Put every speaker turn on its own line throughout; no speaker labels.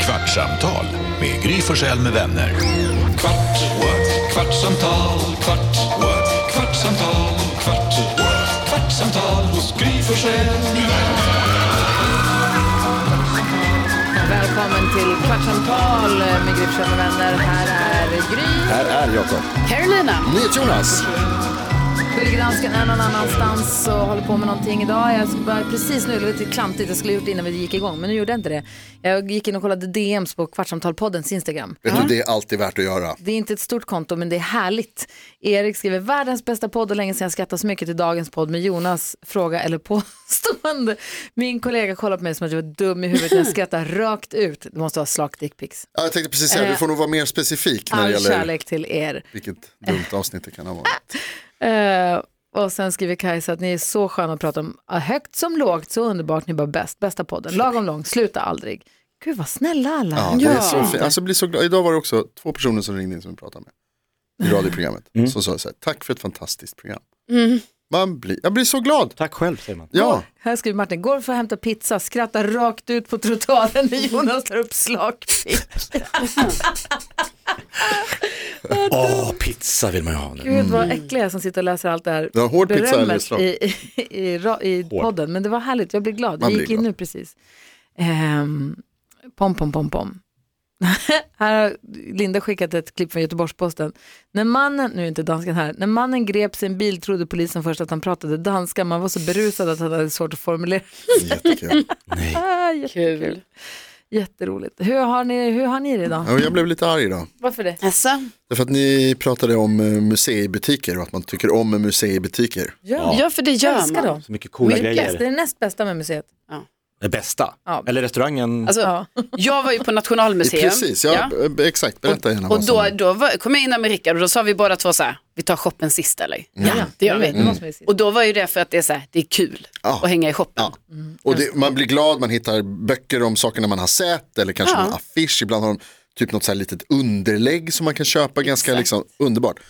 Kvartsamtal med Gry Forssell med vänner. Kvart, what? kvartsamtal, kvart, what? kvartsamtal, kvart, what? kvartsamtal hos Gry Forssell med vänner.
Välkommen till Kvartsamtal med Gry Forssell med vänner. Här är Gry.
Här är Jakob.
Carolina.
Jonas.
Gullegransken är någon annanstans och håller på med någonting idag. Jag ska bara, precis nu, det var lite klantigt, jag skulle ha gjort det innan vi gick igång, men nu gjorde jag inte det. Jag gick in och kollade DMs på Kvartsamtalpoddens Instagram.
Vet du, det är alltid värt att göra.
Det är inte ett stort konto, men det är härligt. Erik skriver världens bästa podd och länge sedan jag skrattat så mycket till dagens podd med Jonas fråga eller påstående. Min kollega kollar på mig som att jag var dum i huvudet när jag skrattar rakt ut. Det måste vara slakt dickpics.
Ja, jag tänkte precis
Eh.
säga, du får nog vara mer specifik när det
All
gäller
kärlek till er.
vilket dumt avsnitt det kan ha varit.
Eh, och sen skriver Kajsa att ni är så sköna att prata om ah, högt som lågt, så underbart, ni är bara bäst, bästa podden, lagom lång, sluta aldrig. Gud vad snälla alla.
Ja, det är så fint. Alltså, bli så glad. Idag var det också två personer som ringde in som vi pratade med i radioprogrammet. Som sa så här, tack för ett fantastiskt program.
Mm.
Man blir, jag blir så glad.
Tack själv säger man.
Ja,
Här skriver Martin, går för att hämta pizza, skrattar rakt ut på trottoaren när Jonas tar upp slagpick.
Åh, pizza vill man ju ha nu.
Gud
Mm.
vad äckliga jag som sitter och läser allt det här
det var hård pizza eller
berömmet i,
slag.
i, i, ra- i podden. Men det var härligt, jag blev glad.
Man
Jag gick
blir
in
glad.
nu precis. Ehm, pom, pom, pom, pom. här har Linda skickat ett klipp från Göteborgs-Posten. När mannen, nu är inte dansken här, när mannen grep sin bil trodde polisen först att han pratade danska. Man var så berusad att han hade svårt att formulera.
Jättekul.
Ah, jättekul. Kul. Jätteroligt. Hur har ni, hur har ni det idag?
Ja, och jag blev lite arg idag.
Varför det?
Alltså,
Därför att ni pratade om eh, museibutiker och att man tycker om museibutiker.
Ja,
ja. för det
jag
gör
älskar
man.
dem.
Så mycket coola
Mycket. Det
grejer.
är det näst bästa med museet.
Det bästa.
Ja.
Eller restaurangen.
Alltså,
Ja.
Jag var ju på Nationalmuseum.
Precis, ja,
Ja.
eh, exakt. Berätta gärna
Och
vad
då,
som...
då var, kom jag in där med Rickard och då sa vi båda två så här, vi tar shoppen sist eller?
Mm.
Ja, det gör vi.
Det måste vi se.
Och då var ju det för att det är så här, det är kul
Ja.
att hänga i shoppen.
Ja. Och det, man blir glad, man hittar böcker om sakerna man har sett eller kanske
Ja.
någon affisch. Ibland har de typ något så här litet underlägg som man kan köpa, ganska liksom, underbart.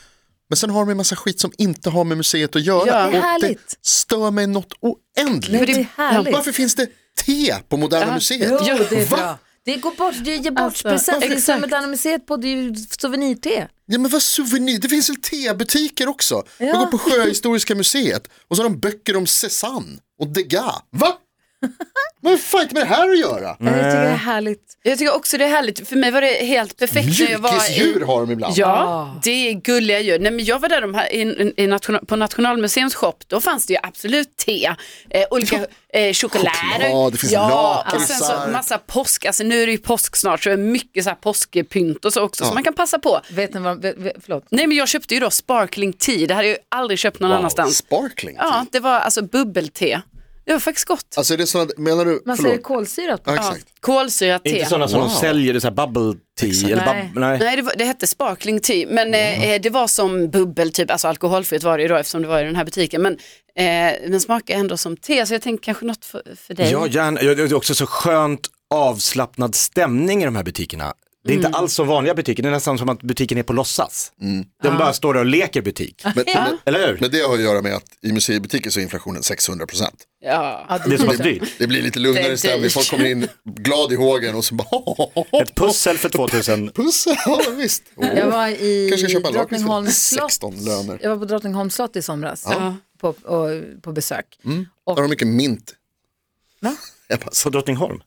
Men sen har de en massa skit som inte har med museet att göra.
Ja.
Och
Det är härligt.
stör mig något
Men det
oändligt.
är härligt.
Varför finns det te på Moderna Museet?
Jo, det är
Va?
bra. Det går bort, det ger bort
Alltså,
present. Det är som
exakt.
Moderna Museet på, det är ju souvenirte.
Ja men vad souvenir, det finns väl tebutiker också. Jag går på Sjöhistoriska museet och så har de böcker om Cézanne och Degas. Va? Vad fan har det med det här att göra?
Jag tycker det är härligt.
Jag tycker också det är härligt, för mig var det helt perfekt när jag var i...
Mjukisdjur har de ibland. Ah.
Ja, det är gulliga djur. Nej, men jag var där de här, i, i, i national, på Nationalmuseums shop, då fanns det ju absolut te, eh, olika eh, choklader.
Choklad, det finns
och
lakritsar.
sen så massa påsk, alltså nu är det ju påsk snart så det är mycket så här påskpynt och så också så man kan passa på.
Vet ni vad, vet, vet- förlåt.
Nej men jag köpte ju då sparkling tea, det hade jag ju aldrig köpt någon annanstans.
Sparkling. typ.
Ja, det var alltså bubbel-te. Det var faktiskt gott.
Alltså är det sådana, menar du,
Man säger
förlåt?
kolsyrat på.
Ja,
Ja,
exakt.
kolsyrat te.
inte sådana som
Wow.
de säljer, det är så här bubble tea. Eller
Nej.
bub- nej.
Nej, det, var, det hette sparkling tea, men eh, eh, det var som bubbel, typ, alltså alkoholfritt var det ju då eftersom det var i den här butiken. Men, eh, men smakar ändå som te, så jag tänker kanske något för, för dig.
Ja, gärna. Ja, Det är också så skönt avslappnad stämning i de här butikerna. Det är inte alls som vanliga butiker, det är nästan som att butiken är på låtsas. De bara står där och leker butik.
Men, men,
Eller hur?
men det har att göra med att i museibutiker så är inflationen 600 procent.
Ja.
Det är så pass dyrt.
Det blir lite
Det är
lugnare stämning,
dyrt.
folk kommer in glad i hågen och så bara
Ett pussel för 2000.
pussel, ja visst. Oh.
Jag var
Kanske
i
köpa en lakrits för
Drottningholms slott.
16 löner.
Jag var på Drottningholms slott i somras på, och, på besök.
Har de mycket mint?
Va?
Jag bara, så,
På Drottningholm?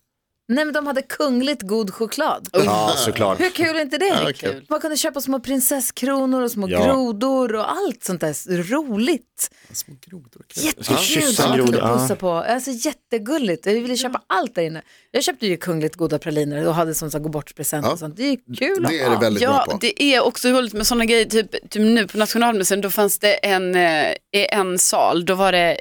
Nej men de hade kungligt god choklad.
Ja, såklart.
Hur kul är inte det?
Ja, kul.
Man kunde köpa små prinsesskronor och små
Ja.
grodor och allt sånt där roligt.
små grodor.
ska
Jättekul
kyssa
som man
en
kunde
groda, ja.
pussa på. Alltså, jättegulligt. Jag ville köpa allt där inne. Jag köpte ju kungligt goda praliner och hade som så här gå bort-present
Ja.
och sånt. Det är ju kul.
Det är det väldigt bra
Ja,
på.
det är också roligt med sådana grejer, typ, typ nu på Nationalmuseum, då fanns det en, eh, i en sal, då var det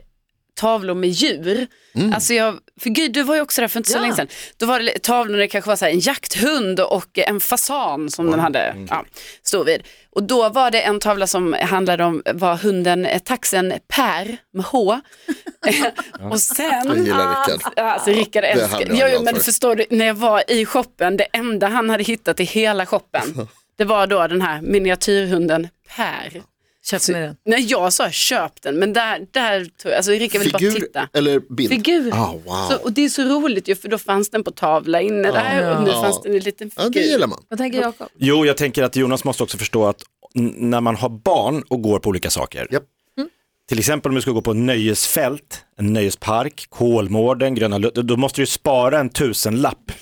tavlor med djur.
Mm.
Alltså jag, för gud, du var ju också där för inte så
Ja.
länge sedan. Då var det li- tavlor där det kanske var så här, en jakthund och en fasan som den hade,
Mm.
ja, stod vid. Och då var det en tavla som handlade om, var hunden, eh, taxen Per med H. och
Jag
sen,
gillar Rickard.
Ja, Alltså Rickard
hade
älskar,
jag
jag
glad
men
för.
förstår du, när jag var i shoppen, det enda han hade hittat i hela shoppen, det var då den här miniatyrhunden Per.
Köpte ni den?
Nej, jag sa köp den, men där, där tror jag, alltså Erika vill bara
Figur
titta.
eller bild?
Figur.
Ah, wow. Ah,
Så, och det är så roligt ju, för då fanns den på tavla inne där och nu
Ja.
fanns den i liten
Ja, det
figur.
gillar man.
Vad tänker Jakob?
Jo, jag tänker att Jonas måste också förstå att n- när man har barn och går på olika saker,
Japp.
Mm.
till exempel om du ska gå på nöjesfält, en nöjespark, Kolmården, Gröna Lund, då måste du ju spara en tusenlapp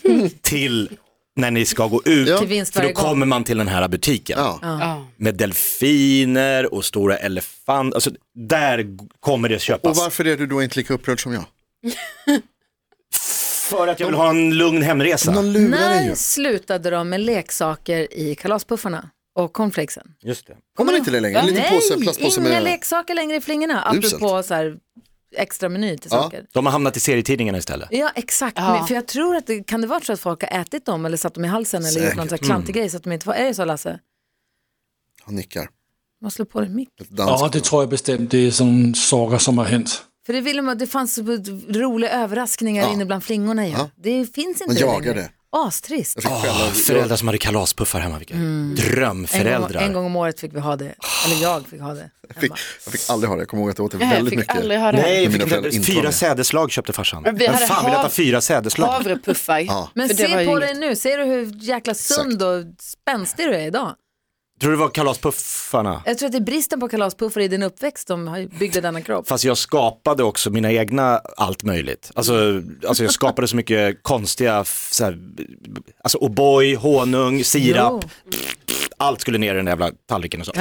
till när ni ska gå ut,
Ja.
Till vinst
för då
varje gång.
kommer man till den här butiken.
Ja.
Ja.
Med delfiner och stora elefanter, alltså, där g- kommer det
Och
köpas.
varför är du då inte lika upprörd som jag?
För att jag vill ha en lugn hemresa.
De lurar dig ju.
När slutade de med leksaker i kalaspuffarna och cornflakesen?
Just det.
Har man inte det längre? En liten
Nej,
påse, plastpåse
inga
med...
leksaker längre i flingorna.
Uselt.
Apropå så här, extra meny till
Ja.
saker.
De har hamnat i serietidningarna istället.
Ja exakt,
Ja.
Men för jag tror att det kan det vara så att folk har ätit dem eller satt dem i halsen eller gjort
Säkert. Mm.
någon sån här klantig grej så att de inte får, är det så Lasse?
Han nickar.
Man slår på det mick.
Ett dansk.
Ja, det tror jag bestämt. Det är sån saker som har hänt.
För det, ville man, det fanns så roliga överraskningar inne bland flingorna ju. Det finns inte
Man jagar
längre.
det.
Astrist.
Jag fick skälla.
Föräldrar som hade kalaspuffar hemma, vilka
Mm. En gång,
drömföräldrar.
en gång om året fick vi ha det, eller jag fick ha det hemma.
Jag fick aldrig ha det. Jag kommer ihåg att jag åt det
Nej, Eh, jag
väldigt
fick
mycket.
aldrig ha det.
Nej,
mina
fick inte-
föräldrar inte
fyra
med.
sädeslag köpte farsan.
Men vi
Vem
hade
fan vill
hav-
äta fyra sädeslag?
Havrepuffar.
Ja.
Men
För det var
se
ju
på
inget.
dig nu, ser du hur jäkla sund och spänstig du är idag?
Tror du det var kalaspuffarna?
Jag tror att det är bristen på kalaspuffar i din uppväxt som har- byggde denna kropp.
Fast jag skapade också mina egna allt möjligt. Alltså, alltså jag skapade så mycket konstiga, f- så här, alltså O'boy, honung, sirap,
Jo.
allt skulle ner i den där jävla tallriken och så.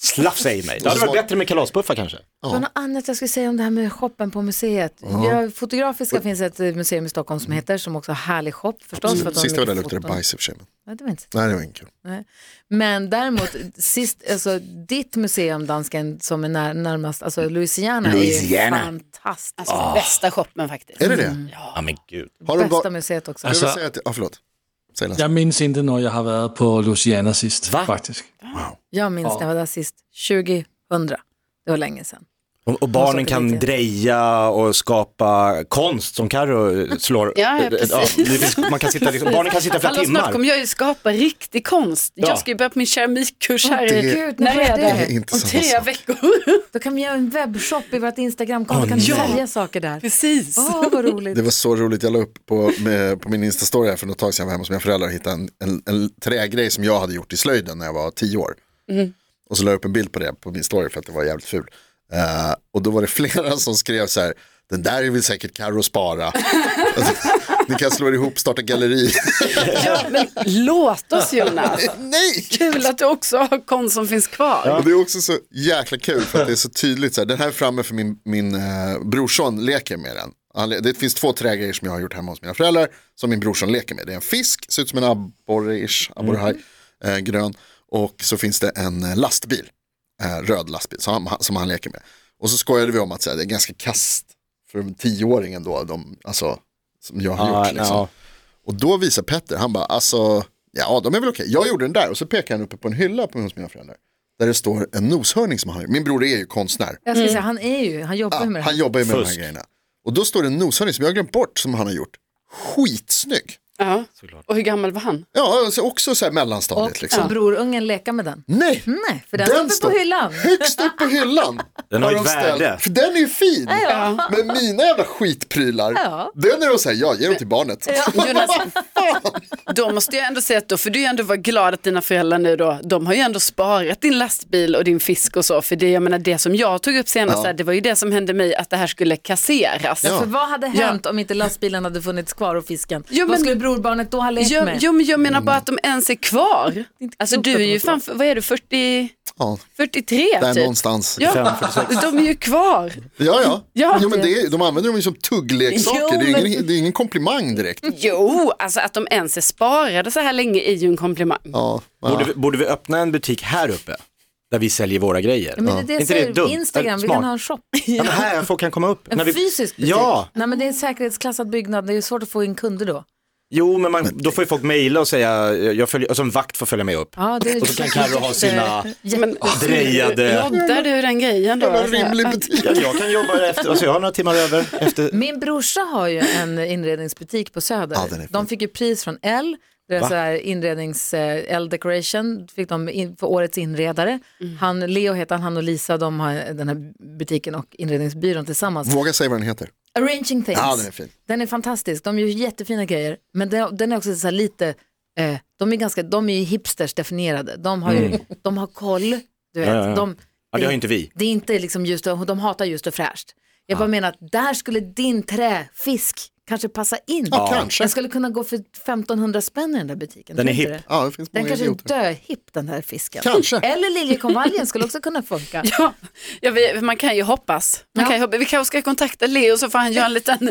Slafsa i mig. Det hade
så-
varit bättre med kalaspuffar kanske.
Det var något annat jag skulle säga om det här med shoppen på museet. Ja, Fotografiska finns ett eh, museum i Stockholm som heter, som också har härlig shop förstås. För att de har
Mm. Sista var det
mycket
luktade
foton.
bajs i och för sig. men-
Nej, det var inte.
Nej, det var inte kul.
Nej. Men däremot, sist, alltså, ditt museum, dansken, som är när, närmast, alltså Louisiana,
Louisiana.
är fantastiskt.
Alltså bästa shoppen faktiskt.
Ah. Är det det?
Ja men gud.
Har de
Bästa
bara...
museet också.
Jag vill
Alltså-
säga att... Ja, förlåt. Säg Lasse.
Jag minns inte när jag har varit på Luciana sist
Va?
faktiskt.
Jag minns när jag var där sist, 2000. Det var länge sedan.
Och, och barnen
saker
kan
lite.
dreja och skapa konst som Carro slår.
Ja, ja, precis.
det finns, man kan sitta, liksom, barnen kan sitta flera
Hallå, snart
timmar.
kommer jag ju skapa riktig konst.
Ja.
Jag ska ju börja på min keramikkurs här i...
Det-
Gud, när är
Det är
det?
inte
Om
samma
tre
sak.
veckor.
Då kan vi göra en webbshop i vårt Instagramkonto, kan
ja.
sälja saker där.
Precis.
Åh, vad roligt.
Det var så roligt, jag la upp på, med, på min Insta-story här för något tag sedan, jag var hemma hos mina föräldrar och hittade en, en, en trägrej som jag hade gjort i slöjden när jag var tio år.
Mm.
Och så la jag upp en bild på det på min story för att det var jävligt ful. Eh, och då var det flera som skrev så här, den där vill säkert Carro spara. Alltså, Ni kan slå er ihop, starta galleri.
Ja, men låt oss Jonas.
Nej!
Kul att du också har konst som finns kvar.
Och det är också så jäkla kul för att det är så tydligt. Så här, den här är framme för min, min eh, brorson leker med den. Han, le- det finns två trägrejer som jag har gjort hemma hos mina föräldrar som min brorson leker med. Det är en fisk, ser ut som en abborre-ish, abborrehaj, eh, grön. Och så finns det en eh, lastbil, eh, röd lastbil som han, som han leker med. Och så skojade vi om att så här, det är ganska kast för en tioåring ändå, de, alltså, som jag har
Ja,
gjort. Liksom.
ja.
Och då visar Petter, han bara, alltså, ja de är väl okej. Jag gjorde den där och så pekar han uppe på en hylla på hos mina föräldrar. Där det står en noshörning som han har gjort. Min bror är ju konstnär.
Jag ska säga, han är ju, han jobbar
Ja,
ju med det
han
här.
jobbar ju med de
Fusk.
här grejerna. Och då står det en noshörning som jag har glömt bort som han har gjort. Skitsnygg.
Ja. Och hur gammal var han?
Ja, alltså också så här mellanstadiet
Och Mm.
liksom.
så brorungen leka med den.
Nej,
Nej, för den, står på hyllan.
högst upp på hyllan.
Den har
Har
ett
de ställt-
värde.
För den är ju fin.
Ja.
Men mina jävla skitprylar,
Ja.
den är de så här, ja, ge dem till barnet.
Jonas, då måste jag ändå säga att då får du ju ändå vara glad att dina föräldrar nu då, de har ju ändå sparat din lastbil och din fisk och så, för det, jag menar, det som jag tog upp senast,
Ja.
här, det var ju det som hände mig, att det här skulle kasseras.
För
Ja.
vad hade hänt om inte lastbilen hade funnits kvar och fisken?
Jo,
vad
men-
skulle brorbarnet då ha lekt
Jo,
med?
jo, men jag menar bara att de ens är kvar.
inte
Alltså
klokt
du
att
är
de är
ju fan, vad är du, 40,
Ja,
43
där
typ?
någonstans.
Ja, de är ju kvar.
Ja, ja.
Ja.
jo, men det, är- de använder dem ju som tuggleksaker.
Jo,
det, är ju
men-
ingen, det är ingen komplimang direkt.
Jo, alltså att de ens är sparade så här länge är ju en komplimang.
Ja,
Borde,
ja.
vi, borde vi öppna en butik här uppe? Där vi säljer våra grejer.
Ja, men det är det jag
Inte det
säger,
dumt?
Instagram,
Eller
vi kan
smart?
ha en shop.
Ja, men här folk kan komma upp.
En
När vi-
fysisk butik.
Ja,
Nej, men det är en säkerhetsklassad byggnad, det är svårt att få in kunder då.
jo men, man, då får ju folk mejla och säga, jag följer, alltså en vakt får följa med upp.
Ja, det är
Och så kan Carro ha sina
Men
drejade,
roddar du den grejen då?
Jävla rimlig butik.
ja, jag kan jobba efter, alltså jag har några timmar över efter.
Min brorsa har ju en inredningsbutik på Söder.
Ja, den är fin.
de fick ju pris från L Deras så här inrednings eh, L decoration fick de in, för årets inredare. Han, Leo heter han, han och Lisa de har den här butiken och inredningsbyrån tillsammans.
Våga säga vad den heter.
Arranging things.
Ja, den är fin.
Den är fantastisk, de gör jättefina grejer. Men den, den är också så här lite, eh, de är ganska, de är ju hipsters definierade. De har ju, de har koll, du vet.
Mm. Ja, ja, ja.
De,
det har ju inte vi.
Det är inte liksom ljust och, de hatar ljust och fräscht. Jag bara menar att där skulle din träfisk kanske passa in.
Ja, kanske.
Den skulle kunna gå för 1500 spänn i den där butiken.
Den är
tror du inte
hipp.
det?
Ja, det finns
Den
många
kanske är
idioter.
döhipp den här fisken.
Kanske.
Eller liljekonvaljen skulle också kunna funka.
Ja, ja, vi, man kan ju hoppas. Man
Ja.
kan ju hoppas. Vi kanske ska kontakta Leo så får han göra en liten,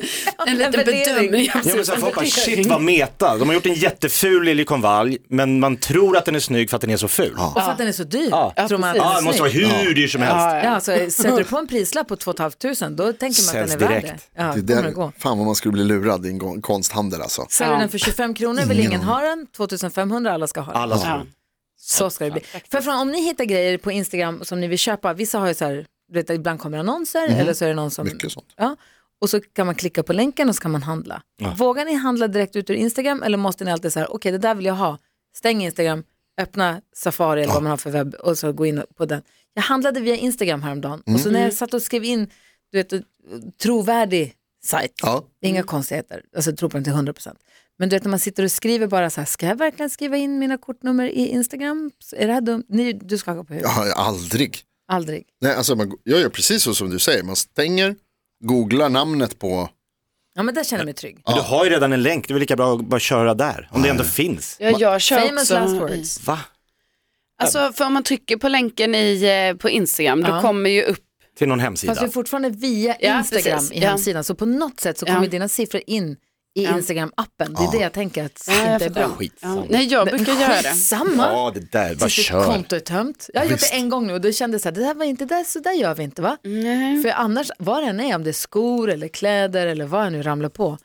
en liten
värdering.
bedömning.
Ja, men så här, folk bara, shit vad meta. De har gjort en jätteful liljekonvalj, men man tror att den är snygg för att den är så ful. Ja,
Och för att den är så dyr. tror man att den
ah,
är
den måste vara
snygg.
hur dyr som helst.
Ja, så sätter du på en prislapp på 2 500 då tänker man att
Säljs
den är värd det.
direkt.
Ja, det
Det
kommer det
där,
gå.
fan vad man skulle bli lurad i en go- konsthandel alltså.
Säljer den för 25 kronor vill ingen ha den, 2500 alla ska ha den.
Alla
Ja.
som...
Så ska det bli. För från, om ni hittar grejer på Instagram som ni vill köpa, vissa har ju så här, du vet, ibland kommer annonser eller så är det någon som...
Mycket sånt.
Ja, och så kan man klicka på länken och så kan man handla. Vågar ni handla direkt ut ur Instagram eller måste ni alltid så här, okej det där vill jag ha, stäng Instagram, öppna Safari eller vad man har för webb och så gå in på den. Jag handlade via Instagram häromdagen och så när jag satt och skrev in, du vet, trovärdig sajt,
Ja.
inga konstigheter, alltså jag tror på den till 100%. Men du vet när man sitter och skriver bara så här, ska jag verkligen skriva in mina kortnummer i Instagram? Är det här dumt? Ni, du skakar på huvudet,
Jag har aldrig.
aldrig.
Nej, alltså man, jag gör precis så som du säger, man stänger, googlar namnet på,
Ja men där känner jag mig trygg.
Men du har ju redan en länk, det är väl lika bra att bara köra där. Om det ändå finns.
Ja, jag kör
Famous last
också.
words.
Va?
Alltså, för om man trycker på länken i, eh, på Instagram, då
Ja.
kommer ju upp
Till någon
Fast
hemsida.
vi är fortfarande via
Ja,
Instagram
precis.
i
Ja.
hemsidan. Så på något sätt så
Ja.
kommer dina siffror in i Instagram-appen. Det är det jag tänker att inte är bra.
Ja. Nej, jag brukar göra det.
Samma.
Ja, det där, bara
Tills ditt
kör.
konto är tömt. Jag har gjort det en gång nu och då kände jag så här, det här var inte där, så där gör vi inte va? För annars, vad det än är, om det är skor eller kläder eller vad jag nu ramlar på,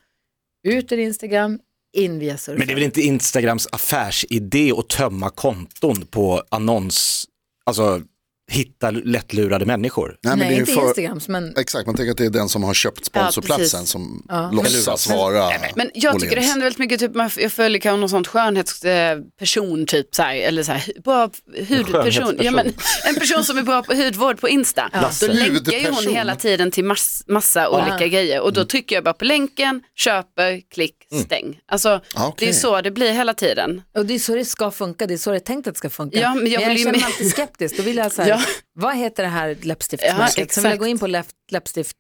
ut ur Instagram, in via surfen.
Men det är väl inte Instagrams affärsidé att tömma konton på annons, alltså hitta lättlurade människor.
nej, men
Nej,
det är ju
inte
för,
Instagrams, men
exakt man tänker att det är den som har köpt sponsorplatsen
precis.
som låtsas vara
Men jag tycker det
Åhléns.
händer väldigt mycket, typ, man- jag följer kanske någon sån skönhetsperson, typ så här, eller så här, bra hudperson. Ja, men, en person som är bra på hudvård på Insta. Då länkar ju hon
Hudperson. Mm.
hela tiden till mass, massa olika grejer och då trycker jag bara på länken, köper, klick, stäng. Alltså
Ah, okej.
det är så det blir hela tiden.
Och det är så det ska funka, det är så det är tänkt att det ska funka.
Ja, men jag vill ju
känner mig
med-
alltid skeptisk, då vill jag så här,
Ja.
vad heter det här läppstiftmärket?
Ja,
Sen vill jag
exakt.
gå in på läpp-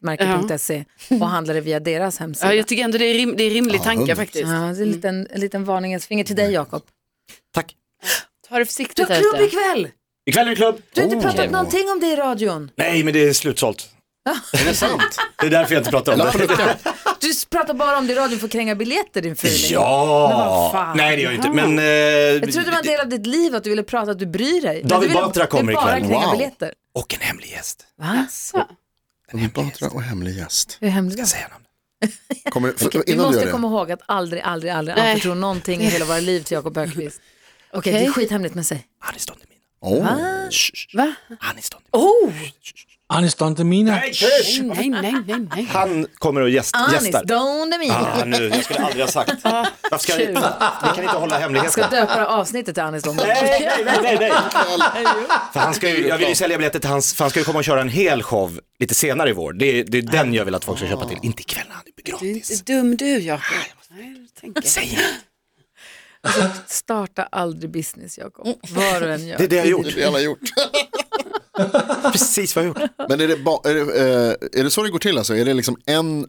läppstiftmärket.se och handla det via deras hemsida.
Ja,
Ja,
jag tycker ändå det är, rim, det är rimlig tanke
hundra
faktiskt.
det Mm. är en liten, en liten varningens finger till
Mm.
dig Jakob.
Tack.
Ta det
Du
försiktigt
har
här
klubb
ute.
ikväll!
Ikväll är det klubb. Oh.
Du har inte pratat någonting om det i radion.
Nej, men det är slutsålt.
Är det sant?
Det är därför jag inte pratar om
Lapp på
det.
luckan.
Ah! Du s- pratar bara om det i radion för att kränga biljetter din fyrling. Men vad
Ja,
fan.
nej det gör jag inte.
Ja.
Men eh,
Jag trodde det var en del av ditt liv att du ville prata, att du bryr dig. Men
David
du ville-
Batra kommer
du bara
ikväll.
kränga
Wow.
biljetter.
och en hemlig gäst.
Va?
David Batra och hemlig gäst.
Hur hemligt?
Säger han.
Kommer, för,
Vi
innan du
måste
gör
komma
det,
ihåg att aldrig, aldrig, aldrig
Nej.
anförtro någonting i hela våra liv till Jakob Ökvist. Okej, det är skithemligt med sig.
Anis Don Demina.
oh,
Va?
Ah.
Anis Don Demina.
Oh,
Anis Don Demina.
nej, nej, nej, nej.
Han kommer och gäst,
Anis
gästar.
Don Demina.
Ah, nu, jag skulle aldrig ha sagt. Varför ska ni, ni kan inte hålla hemligheter.
Ah, Ska döpa avsnittet till Anis Don Demina.
Nej, nej, nej, nej, nej. För han ska ju, jag vill ju sälja biljetter till hans, för han ska ju komma och köra en hel show lite senare i vår. Det är, det är den jag vill att folk ska köpa till. Inte ikväll när han är gratis.
Dum du, Jakob.
Ah,
Nej, jag tänker.
Säg inte.
Starta aldrig business, Jakob.
Mm.
Vad du än
Det är
gör.
det jag har
det är
gjort.
det alla gjort.
Precis vad jag har gjort.
Men är det, ba, är, det, eh, är det så det går till alltså? Är det liksom en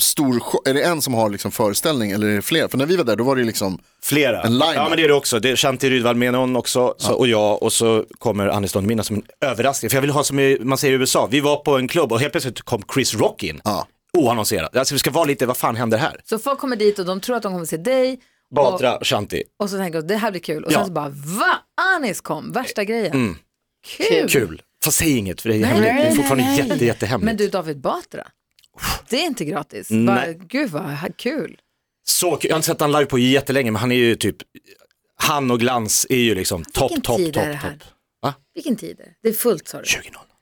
stor show? Är det en som har liksom föreställning eller är det fler? För när vi var där då var det liksom,
Flera.
En line-up.
ja men det är det också. Det är Shanti Rydwall med någon också så, och jag och så kommer Anis Don Demina som en överraskning. För jag vill ha som i, man säger i USA, vi var på en klubb och helt plötsligt kom Chris Rock in.
ja.
Oannonserat. Alltså vi ska vara lite, vad fan händer här?
Så folk kommer dit och de tror att de kommer se dig. Och,
Batra, Shanti.
och så tänker de, det här blir kul. Och
Ja. Mm.
sen så bara, va? Anis kom, värsta grejen. Kul.
Kul. Fast säg inget för det är
Nej,
hemligt. Det är
nej,
fortfarande jätte, jättehemligt.
Men du, David Batra. Det är inte gratis. Va,
Nej.
gud vad kul.
Så kul. Jag har inte sett han live på jättelänge, men han är ju typ, han och Glans är ju liksom topp,
Vilken
topp,
tid
topp,
är det här?
topp.
Vilken tid är det? Det är fullt sa du.
20.00. Får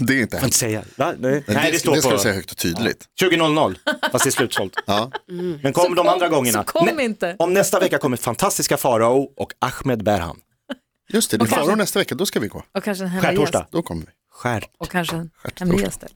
20.
det är inte
inte
hemskt.
säga. Va? Nej.
Men
Nej, det
det
står
ska
på
du säga högt och tydligt.
20.00. Fast det är slutsålt.
Ja.
Men kom
Mm. Så
de
kom-
andra
så
gångerna.
kom
Nä-
inte.
Om nästa vecka kommer fantastiska Farao och Ahmed Berhan.
Just det, det är
kanske-
Farao nästa vecka, då ska vi gå.
Och kanske en hemlig gäst.
Skärtorsdag.
Då kommer vi.
Skär.
Och kanske en hemlig gäst. där.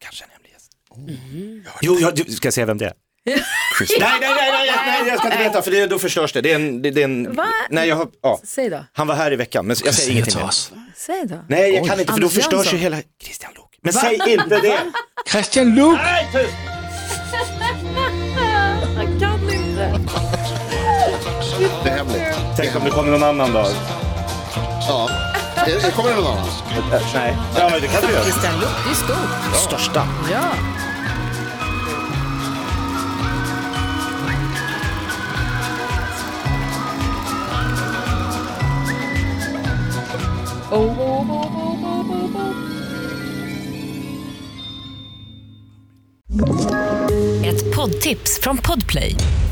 Kanske en hemlig gäst.
Mm.
Jo, jag, du- ska jag säga vem det är? nej, nej, nej, nej, nej, jag ska inte veta för det, då förstörs det. Det är en... Det, det är en
Va?
nej, jag, har- ja.
Säg då.
Han var här i veckan, men jag säger ingenting.
till
mer.
oss.
Säg då.
Nej, jag kan inte för då
Anders
förstörs ju
Jönsson.
hela... Christian Lok. Men säg inte det!
Christian Luuk!
Jag kan inte.
Det är hemligt.
Tänk om det kommer någon annan dag.
Ja. Är- är- Kommer det någon annan?
Äh, Nej, ja, men det kan du göra.
Christian Luuk, det är stort.
Största.
Ja. Oh, oh, oh, oh, oh, oh, oh.
Ett poddtips från Podplay.